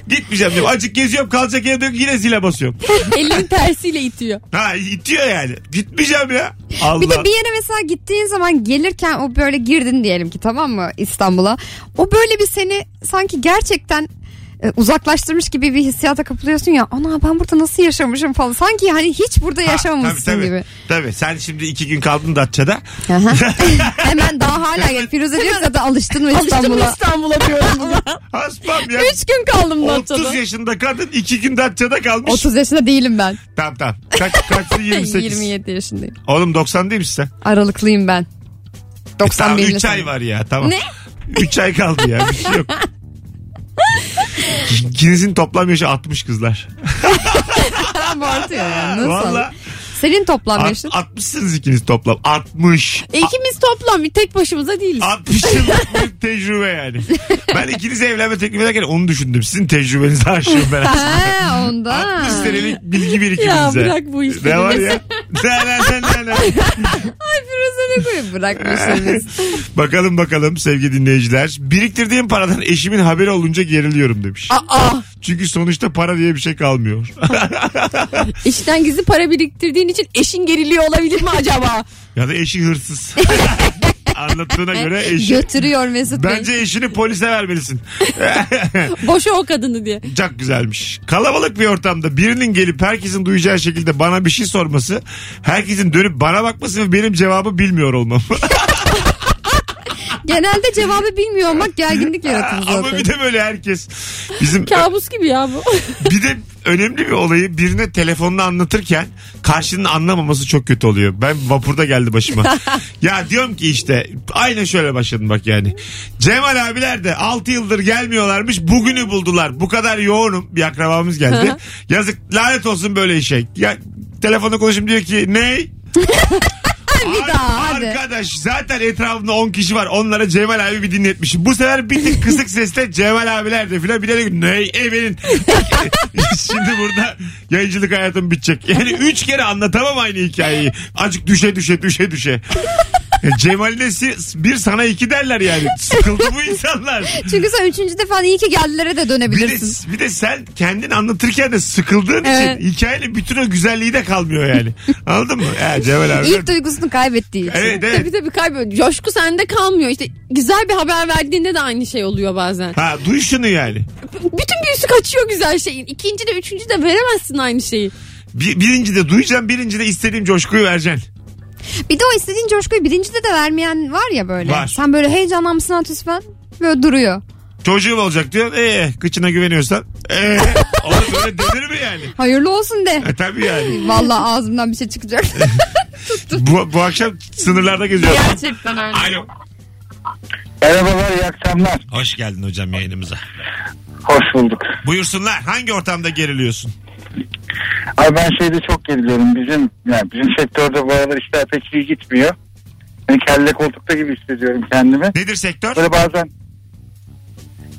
S2: Gitmeyeceğim diyor. Acık geziyorum kalacak yere diyor ki yine zile basıyorum.
S4: Elini tersiyle itiyor.
S2: Ha itiyor yani. Gitmeyeceğim ya. Allah.
S3: Bir de bir yere mesela gittiğin zaman gelirken o böyle girdin diyelim ki tamam mı İstanbul'a. O böyle bir seni sanki gerçekten e, uzaklaştırmış gibi bir hissiyata kapılıyorsun ya. Ana ben burada nasıl yaşamışım falan. Sanki hani hiç burada
S2: Ha,
S3: yaşamamışsın
S2: tabii, tabii.
S3: gibi.
S2: Tabii sen şimdi iki gün kaldın Datça'da.
S3: Aha. Hemen daha hala gel. Firuze diyorsa da alıştın mı
S4: Alıştım
S3: İstanbul'a?
S4: İstanbul'a diyorum buna.
S2: Hasbam ya.
S4: Üç gün kaldım
S2: 30
S4: Datça'da.
S2: yaşında kadın 2 gün Datça'da kalmış.
S3: 30 yaşında değilim ben.
S2: Tamam tamam. Kaç, kaçsın 28.
S3: 27 yaşındayım.
S2: Oğlum 90 değil misin sen?
S3: Aralıklıyım ben.
S2: Tamam
S3: 91
S2: 3 ay var ya tamam.
S3: Ne?
S2: 3 ay kaldı ya bir şey yok. İkinizin toplam yaşı 60 kızlar.
S3: Abartıyor ya. Nasıl?
S2: Valla
S3: Senin toplam
S2: at-
S3: yaşın?
S2: 60'sınız ikiniz toplam. 60.
S4: E, İkimiz toplam bir tek başımıza değiliz.
S2: 60 yıllık bir tecrübe yani. Ben ikinize evlenme teklif ederken onu düşündüm. Sizin tecrübenizi aşıyorum ben aslında.
S3: Ha, onda.
S2: 60 senelik bilgi
S4: Ya
S2: birikimimize.
S4: bırak bu işleri.
S2: Ne var ya? Ne ne ne ne ne.
S3: Firuze ne koyup bırakmışsınız.
S2: Bakalım bakalım sevgili dinleyiciler. Biriktirdiğim paradan eşimin haberi olunca geriliyorum demiş.
S4: Aa,
S2: Çünkü sonuçta para diye bir şey kalmıyor.
S4: işten gizli para biriktirdiğin için eşin geriliyor olabilir mi acaba?
S2: ya da eşi hırsız. Anlattığına göre eşi.
S3: Götürüyor Mesut Bey.
S2: Şey, Bence eşini polise vermelisin.
S4: Boşa o kadını diye.
S2: Çok güzelmiş. Kalabalık bir ortamda birinin gelip herkesin duyacağı şekilde bana bir şey sorması, herkesin dönüp bana bakması ve benim cevabı bilmiyor olmam.
S3: Genelde cevabı bilmiyor olmak gerginlik yaratır
S2: Ama
S3: zaten.
S2: bir de böyle herkes. Bizim
S4: Kabus gibi ya bu.
S2: bir de önemli bir olayı birine telefonla anlatırken karşının anlamaması çok kötü oluyor. Ben vapurda geldi başıma. ya diyorum ki işte aynen şöyle başladım bak yani. Cemal abiler de 6 yıldır gelmiyorlarmış bugünü buldular. Bu kadar yoğunum bir akrabamız geldi. Yazık lanet olsun böyle işe. Ya, telefonda konuşup diyor ki ney?
S3: bir daha hadi.
S2: Arkadaş zaten etrafında 10 kişi var. Onlara Cemal abi bir dinletmişim. Bu sefer bir tık kısık sesle Cemal abiler de filan bir de diyor ki, ne evinin. Şimdi burada yayıncılık hayatım bitecek. Yani 3 kere anlatamam aynı hikayeyi. Acık düşe düşe düşe düşe. Ya Cemal'de si- bir sana iki derler yani. Sıkıldı bu insanlar.
S3: Çünkü sen üçüncü defa iyi ki geldiler'e
S2: Bir
S3: de
S2: de,
S3: dönebilirsin.
S2: bir de sen kendin anlatırken de sıkıldığın
S4: Evet.
S2: için hikayenin bütün o güzelliği de kalmıyor yani. Anladın mı? Ya Cemal abi.
S3: İlk duygusunu kaybettiği için.
S2: Evet evet.
S4: şey Tabii tabii kaybediyor. Coşku sende kalmıyor. İşte güzel bir haber verdiğinde de aynı şey oluyor bazen.
S2: Ha duy şunu yani.
S4: B- Bütün büyüsü kaçıyor güzel şeyin. İkinci de üçüncü de veremezsin aynı şeyi.
S2: Bir, birinci de duyacağım birinci de istediğim coşkuyu vereceksin.
S3: Bir de o istediğin coşkuyu birincide de vermeyen var ya böyle.
S2: Var.
S3: Sen böyle heyecanlanmışsın antisfen böyle duruyor.
S2: Çocuğum olacak diyor. Ee, kıçına güveniyorsan. Ee, oğlum böyle denir mi yani?
S3: Hayırlı olsun de.
S2: E, tabii yani.
S3: Vallahi ağzımdan bir şey çıkacak.
S2: Bu, bu akşam sınırlarda geziyorum.
S4: Gerçekten öyle.
S2: Alo.
S5: Merhabalar iyi akşamlar.
S2: Hoş geldin hocam yayınımıza.
S5: Hoş bulduk.
S2: Buyursunlar. Hangi ortamda geriliyorsun?
S5: Ay ben şeyde çok geriliyorum. Bizim yani bizim sektörde bu aralar işler pek iyi gitmiyor. Yani kelle koltukta gibi hissediyorum kendimi.
S2: Nedir sektör?
S5: Böyle bazen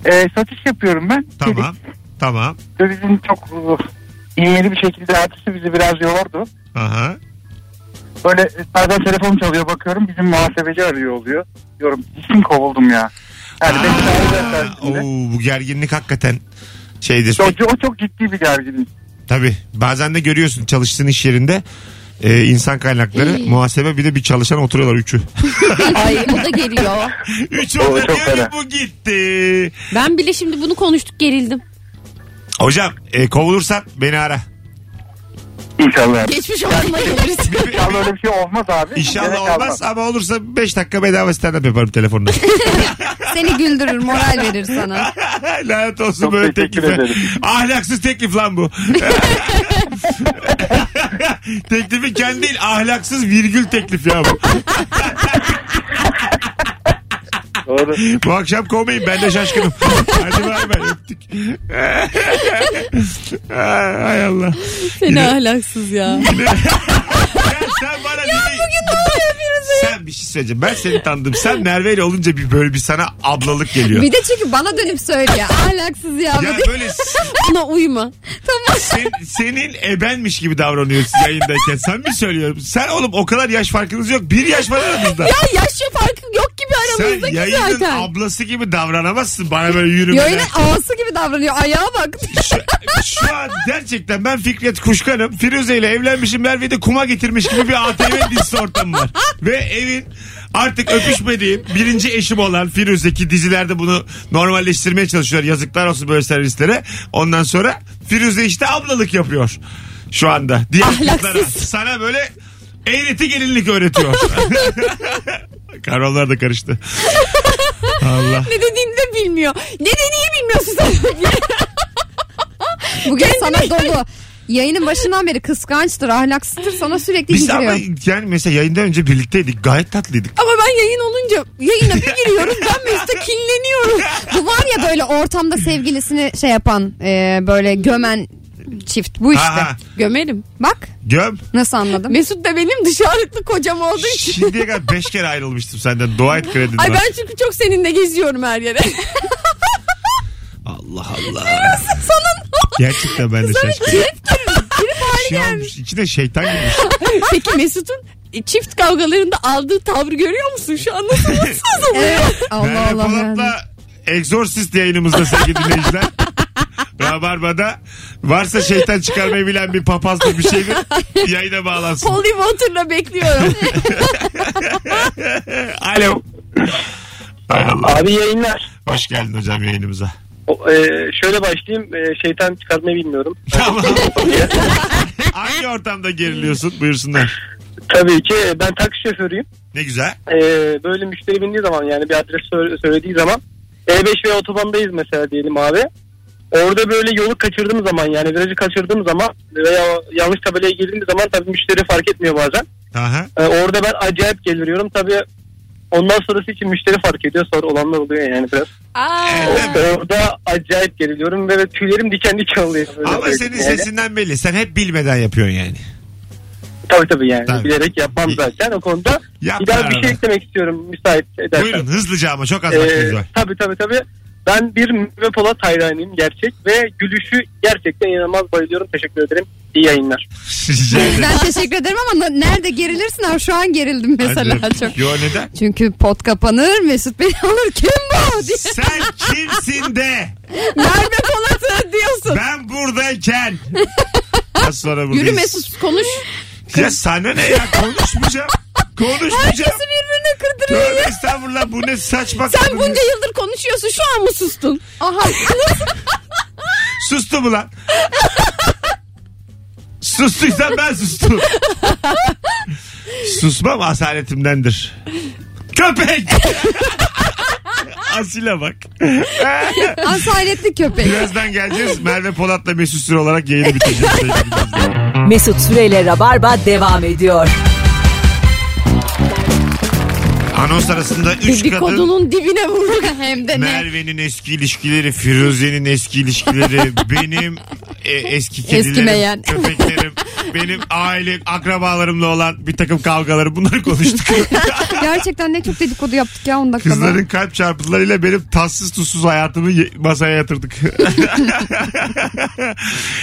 S5: e, satış yapıyorum ben.
S2: Tamam. Tamam.
S5: Ve bizim çok e, iğneli bir şekilde artısı bizi biraz yordu.
S2: Aha.
S5: Böyle e, bazen telefon çalıyor bakıyorum bizim muhasebeci arıyor oluyor. Diyorum kesin kovuldum ya. Yani beş tane
S2: Aa,
S5: dersinde.
S2: oo, bu gerginlik hakikaten şeydir.
S5: şey. Çok, o çok ciddi bir gerginlik.
S2: Tabii bazen de görüyorsun çalıştığın iş yerinde e, insan kaynakları, muhasebe bir de bir çalışan oturuyorlar üçü.
S4: Ay o da geliyor.
S2: Üç
S5: O
S2: orada
S5: çok
S2: diyor ki
S5: fena.
S2: bu gitti.
S4: Ben bile şimdi bunu konuştuk gerildim.
S2: Hocam e, kovulursan beni ara.
S5: İnşallah.
S4: Geçmiş olma geliriz.
S5: İnşallah öyle bir şey olmaz abi. Gerek
S2: İnşallah
S5: kalmaz.
S2: olmaz ama olursa 5 dakika bedava stand-up yaparım telefonla.
S3: Seni güldürür moral verir sana.
S2: Lanet olsun
S5: Çok
S2: böyle
S5: teşekkür
S2: teklife.
S5: ederim.
S2: Ahlaksız teklif lan bu. Teklifi kendi değil ahlaksız virgül teklif ya bu.
S5: Doğru.
S2: Bu akşam kovmayın ben de şaşkınım. Hadi bay bay öptük. Ay, Hay Allah.
S4: Seni ahlaksız ya.
S2: Ya sen bana ya bugün Sen bir şey söyleyeceğim. Ben seni tanıdım. Sen Merve ile olunca bir böyle bir sana ablalık geliyor.
S3: Bir de çünkü bana dönüp söylüyor. Ahlaksız ya.
S2: Ya
S3: bu diye.
S2: böyle
S4: Buna uyma.
S3: Tamam.
S2: sen- senin ebenmiş gibi davranıyorsun yayındayken. Sen mi söylüyorum? Sen oğlum o kadar yaş farkınız yok. Bir yaş var aramızda.
S4: Ya yaşça farkı yok gibi
S2: Sen
S4: aramızdaki
S2: yayının
S4: zaten.
S2: ablası gibi davranamazsın. Bana böyle yürüme.
S3: Yayının ağası gibi davranıyor. Ayağa bak.
S2: Şu, şu an gerçekten ben Fikret Kuşkan'ım. Firuze ile evlenmişim. Merve'yi de kuma getirmiş gibi bir ATV dizisi ortamı var. Ve evin artık öpüşmediğim birinci eşim olan Firuze ki dizilerde bunu normalleştirmeye çalışıyor. Yazıklar olsun böyle servislere. Ondan sonra Firuze işte ablalık yapıyor şu anda. Diğer
S4: Ahlaksız.
S2: kızlara. Sana böyle eğreti gelinlik öğretiyor. Kavramlar da karıştı. Allah.
S4: Ne dediğini de bilmiyor. Ne dediğini bilmiyorsun sen.
S3: Bugün sana dolu. Yayının başından beri kıskançtır, ahlaksızdır. Sana sürekli
S2: Biz ama
S3: giriyor.
S2: yani mesela yayından önce birlikteydik. Gayet tatlıydık.
S4: Ama ben yayın olunca yayına bir giriyorum ben Mesut'a kinleniyorum.
S3: Bu var ya böyle ortamda sevgilisini şey yapan, e, böyle gömen çift. Bu işte.
S2: Aha.
S4: Gömerim.
S3: Bak
S2: Göm.
S3: nasıl anladım.
S4: Mesut da benim dışarılıklı kocam olduğu için.
S2: Şimdiye kadar 5 kere ayrılmıştım senden. Dua et kredin
S4: Ay
S2: var.
S4: ben çünkü çok seninle geziyorum her yere.
S2: Allah Allah. Gerçekten ben de şaşkınım. Şey olmuş. İçine şeytan girmiş.
S4: Peki Mesut'un çift kavgalarında aldığı tavrı görüyor musun şu an? Nasıl mutsuz oluyor?
S3: Evet. Allah
S2: Merve
S3: Allah. yani.
S2: Polat'la Exorcist yayınımızda sevgili dinleyiciler. Rabarba'da varsa şeytan çıkarmayı bilen bir papazdır bir şeydir. Yayına bağlansın.
S4: Holy water'la bekliyorum.
S2: Alo. Hay Allah.
S5: Abi yayınlar.
S2: Hoş geldin hocam yayınımıza.
S5: O, e, şöyle başlayayım. E, şeytan çıkarmayı bilmiyorum.
S2: Tamam. Hangi ortamda geriliyorsun? Buyursunlar.
S5: Tabii ki e, ben taksi şoförüyüm.
S2: Ne güzel.
S5: E, böyle müşteri bindiği zaman yani bir adres sö- söylediği zaman E5 ve otobandayız mesela diyelim abi. Orada böyle yolu kaçırdığım zaman yani virajı kaçırdığım zaman veya yanlış tabelaya girdiğim zaman tabii müşteri fark etmiyor bazen.
S2: Aha.
S5: E, orada ben acayip geliriyorum tabii. Ondan sonrası için müşteri fark ediyor. Sonra olanlar oluyor yani biraz.
S4: Aa,
S5: Orada acayip geriliyorum ve tüylerim diken diken oluyor. Böyle
S2: Ama
S5: böyle
S2: senin
S5: yani.
S2: sesinden belli. Sen hep bilmeden yapıyorsun yani.
S5: Tabii tabii yani.
S2: Tabii.
S5: Bilerek yapmam
S2: İyi.
S5: zaten o konuda.
S2: Yap
S5: bir daha
S2: beraber.
S5: bir şey eklemek istiyorum müsait edersen.
S2: Buyurun hızlıca ama çok az vaktimiz
S5: Ee,
S2: var.
S5: tabii tabii tabii. Ben bir Müve Polat hayranıyım gerçek ve gülüşü gerçekten inanılmaz bayılıyorum. Teşekkür ederim. İyi yayınlar.
S2: Rica ederim.
S3: Ben teşekkür ederim ama na- nerede gerilirsin? Ha, şu an gerildim mesela
S2: Hadi.
S3: çok.
S2: Yo neden?
S3: Çünkü pot kapanır Mesut beni alır. Kim bu? diye.
S2: Sen kimsin de
S4: Merve Polat'ı diyorsun.
S2: ben buradayken. Az sonra buradayız.
S4: Yürü Mesut konuş.
S2: Ya sana ne ya konuşmayacağım. Konuşmayacağım.
S4: Herkesi birbirine kırdırıyor.
S2: Tövbe estağfurullah bu ne saçma.
S4: Sen bunca yıldır konuşuyorsun şu an mı sustun?
S3: Aha.
S2: Sustu mu lan? Sustuysan ben sustum. Susmam asaletimdendir. Köpek! Asile bak.
S3: Asaletli köpek.
S2: Birazdan geleceğiz. Merve Polat'la Mesut Süre olarak yayını bitireceğiz. sevgili dinleyiciler.
S1: Mesut Süreyle Rabarba devam ediyor.
S2: Anons arasında 3 kadın
S4: Dedikodunun dibine vurduk hem de ne.
S2: Merve'nin eski ilişkileri, Firuze'nin eski ilişkileri, benim e, eski kedilerim,
S4: Eskimeyen.
S2: köpeklerim. Benim aile akrabalarımla olan bir takım kavgalarım bunları konuştuk.
S3: Gerçekten ne çok dedikodu yaptık ya 10 dakikada.
S2: Kızların kalp çarpıntılarıyla benim tatsız tuzsuz hayatımı ye- masaya yatırdık.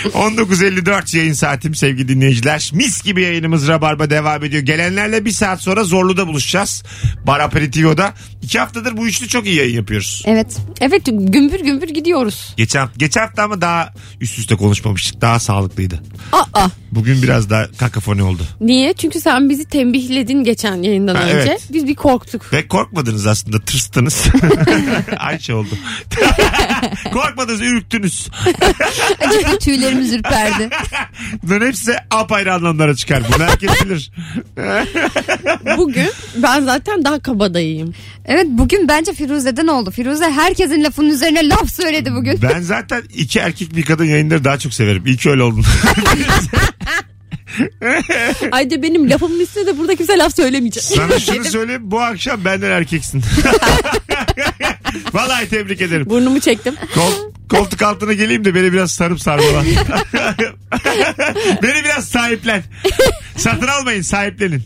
S2: 19.54 yayın saatim sevgili dinleyiciler. Mis gibi yayınımız Rabarba devam ediyor. Gelenlerle bir saat sonra Zorlu'da buluşacağız. Bar Aperitivo'da. İki haftadır bu üçlü çok iyi yayın yapıyoruz.
S3: Evet.
S4: Evet gümbür gümbür gidiyoruz.
S2: Geçen, geçen hafta ama daha üst üste konuşmamıştık. Daha sağlıklıydı.
S4: Aa
S2: Bugün biraz daha kakafoni oldu.
S4: niye? Çünkü sen bizi tembihledin geçen yayından
S2: Ha,
S4: önce.
S2: evet.
S4: Biz bir korktuk.
S2: Ve korkmadınız aslında tırstınız. Ayşe oldu. korkmadınız ürktünüz.
S3: Acıklı tüylerimiz ürperdi.
S2: Bunların hepsi apayrı anlamlara çıkar. Bunu herkes bilir.
S4: Bugün ben zaten daha kabadayıyım.
S3: Evet bugün bence Firuze'den oldu. Firuze herkesin lafının üzerine laf söyledi bugün.
S2: Ben zaten iki erkek bir kadın yayınları daha çok severim. İyi ki öyle oldun.
S4: Ayrıca benim lafımın üstüne de burada kimse laf söylemeyecek.
S2: Sana şunu söyleyeyim bu akşam benden erkeksin. Vallahi tebrik ederim.
S4: Burnumu çektim.
S2: Kol- koltuk altına geleyim de beni biraz sarıp sarmala. beni biraz sahiplen. Satın almayın sahiplenin.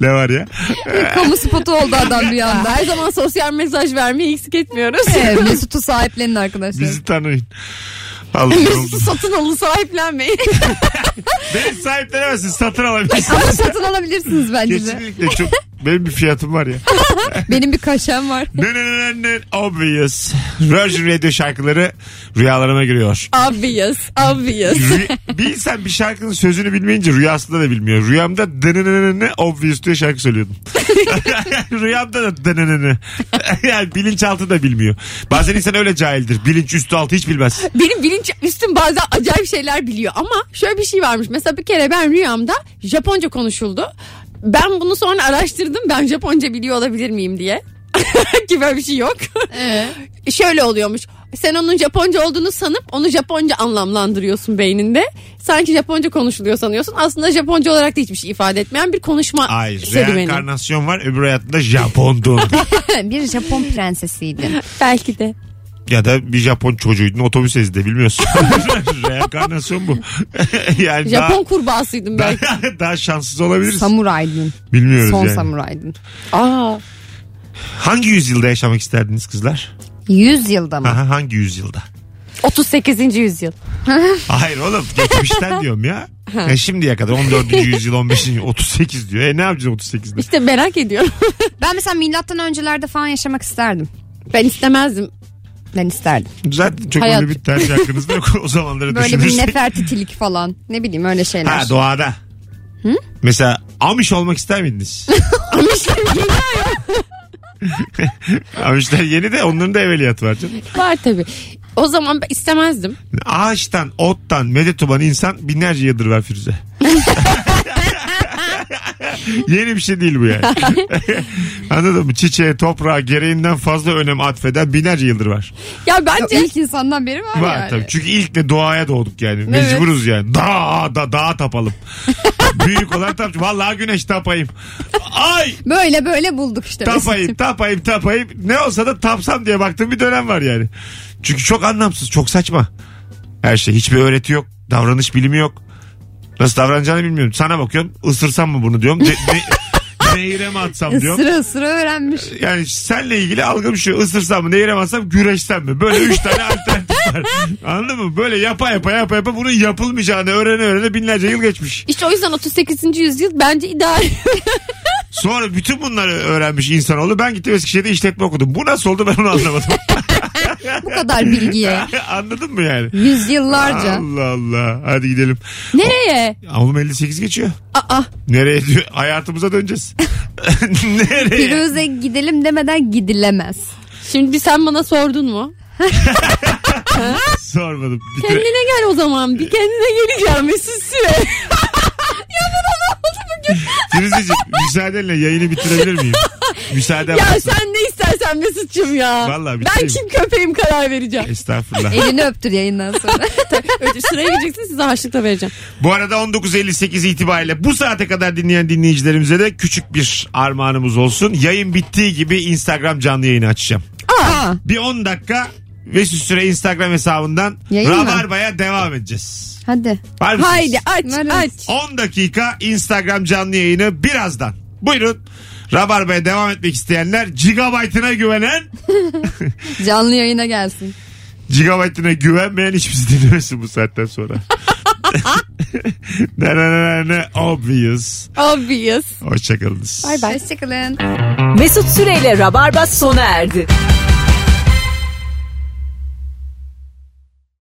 S2: ne var ya?
S3: Kamu spotu oldu adam bir anda.
S4: Her zaman sosyal mesaj vermeyi eksik etmiyoruz.
S3: Evet, Mesut'u sahiplenin arkadaşlar.
S2: Bizi tanıyın. Allah
S4: Mesut'u satın alın sahiplenmeyin.
S2: Beni sahiplenemezsin satın alabilirsin.
S3: Ama satın alabilirsiniz bence de.
S2: Kesinlikle çok benim bir fiyatım var ya.
S3: Benim bir kaşem var.
S2: Ne ne ne ne ne obvious. Virgin Radio şarkıları rüyalarıma giriyor.
S4: obvious, obvious.
S2: Rü- bir insan bir şarkının sözünü bilmeyince rüyasında da bilmiyor. Rüyamda dınınını obvious diye şarkı söylüyordum. Rüyamda da dınınını. yani bilinçaltı da bilmiyor. Bazen insan öyle cahildir. Bilinç üstü altı hiç bilmez.
S4: Benim bilinç üstüm bazen acayip şeyler biliyor ama şöyle bir şey varmış. Mesela bir kere ben rüyamda Japonca konuşuldu. Ben bunu sonra araştırdım. Ben Japonca biliyor olabilir miyim diye. Ki böyle bir şey yok. Şöyle oluyormuş. Sen onun Japonca olduğunu sanıp onu Japonca anlamlandırıyorsun beyninde. Sanki Japonca konuşuluyor sanıyorsun. Aslında Japonca olarak da hiçbir şey ifade etmeyen bir konuşma
S2: Hayır.
S4: serüveni.
S2: Reenkarnasyon var. Öbür hayatında Japondun.
S3: bir Japon prensesiydi.
S4: Belki de.
S2: ya da bir Japon çocuğuydun. Otobüs ezdi bilmiyorsun. Reenkarnasyon bu. yani daha-
S4: Japon kurbağasıydım
S2: daha,
S4: belki.
S2: daha şanssız olabiliriz.
S3: Samuraydın.
S2: Bilmiyoruz
S3: Son
S2: yani.
S3: samuraydın.
S4: Aa.
S2: Hangi yüzyılda yaşamak isterdiniz kızlar?
S3: 100 yılda mı?
S2: Aha, hangi yüzyılda?
S4: 38. yüzyıl.
S2: Hayır oğlum geçmişten diyorum ya. ya. Şimdiye kadar 14. yüzyıl 15. 38 diyor. E ne yapacağız 38'de?
S4: İşte merak ediyorum.
S3: Ben mesela milattan öncelerde falan yaşamak isterdim.
S4: Ben istemezdim.
S3: Ben isterdim.
S2: Zaten çok
S4: Hayat.
S2: öyle bir tercih hakkınız da yok o zamanları
S3: Böyle bir
S2: düşünürsek.
S3: nefertitilik falan. Ne bileyim öyle şeyler.
S2: Ha doğada. Mesela Amiş olmak ister miydiniz?
S4: Amişler yeni
S2: Amişler yeni de onların da evveliyatı var canım.
S4: var tabii. O zaman ben istemezdim.
S2: Ağaçtan, ottan, medet uman insan binlerce yıldır var Firuze. Yeni bir şey değil bu yani. Anladın mı? Çiçeğe, toprağa gereğinden fazla önem atfeden binlerce yıldır var.
S4: Ya
S3: Ya
S4: bence
S3: İlk insandan beri var,
S2: Var
S3: yani.
S2: tabii. Çünkü ilk de doğaya doğduk yani. Mecburuz yani. Dağa, da, dağa tapalım. Büyük olan tap. Vallahi güneş tapayım. Ay
S3: Böyle böyle bulduk işte.
S2: tapayım, tapayım, tapayım. Ne olsa da tapsam diye baktığım bir dönem var yani. Çünkü çok anlamsız, çok saçma. Her şey. Hiçbir öğreti yok. Davranış bilimi yok. Nasıl davranacağını bilmiyorum. Sana bakıyorum. Isırsam mı bunu diyorum. Ne, ne, nehire mi atsam diyorum.
S3: Sıra sıra öğrenmiş.
S2: Yani senle ilgili algım şu. Isırsam mı, nehire mi atsam, güreşsem mi? Böyle üç tane alternatif var. Anladın mı? Böyle yapa yapa yapa yapa bunun yapılmayacağını öğrene öğrene binlerce yıl geçmiş.
S4: işte o yüzden 38. yüzyıl bence ideal.
S2: Sonra bütün bunları öğrenmiş insanoğlu. Ben gittim Eskişehir'de işletme okudum. Bu nasıl oldu ben onu anlamadım.
S3: Bu kadar bilgiye.
S2: Anladın mı yani?
S3: Yüzyıllarca.
S2: Allah Allah. Hadi gidelim.
S4: Nereye?
S2: Oğlum 58 geçiyor.
S4: Aa.
S2: Nereye diyor? Hayatımıza döneceğiz. Nereye?
S3: Firuze gidelim demeden gidilemez.
S4: Şimdi bir sen bana sordun mu?
S2: Sormadım. Bitire-
S4: Kendine gel o zaman. Bir kendine geleceğim Mesut Süre.
S2: Firuzeciğim, müsaadenle yayını bitirebilir miyim? Müsaaden
S4: ya
S2: varsa.
S4: sen ne istersen Mesut'cum ya.
S2: Vallahi bir
S4: ben
S2: şeyim.
S4: kim köpeğim karar vereceğim.
S2: Estağfurullah.
S3: Elini öptür yayından sonra.
S4: Öyle sıraya gireceksin size harçlık da vereceğim.
S2: Bu arada 19.58 itibariyle bu saate kadar dinleyen dinleyicilerimize de küçük bir armağanımız olsun. Yayın bittiği gibi Instagram canlı yayını açacağım.
S3: Aa,
S2: Bir 10 dakika Mesut Süre Instagram hesabından
S3: Yayın mı?
S2: Rabarba'ya devam edeceğiz.
S3: Hadi.
S2: Var mısınız?
S4: Haydi aç
S3: Varız.
S4: aç.
S2: 10 dakika Instagram canlı yayını birazdan. Buyurun. Rabarba'ya devam etmek isteyenler gigabaytına güvenen,
S3: Canlı yayına gelsin.
S2: gigabaytına güvenmeyen hiçbir şey dinlemesin bu saatten sonra. ne ne ne ne ne obvious.
S4: Obvious.
S2: Hoşçakalınız.
S3: Bay bay. Hoşçakalın.
S1: Mesut Süreyle Rabarba sona erdi.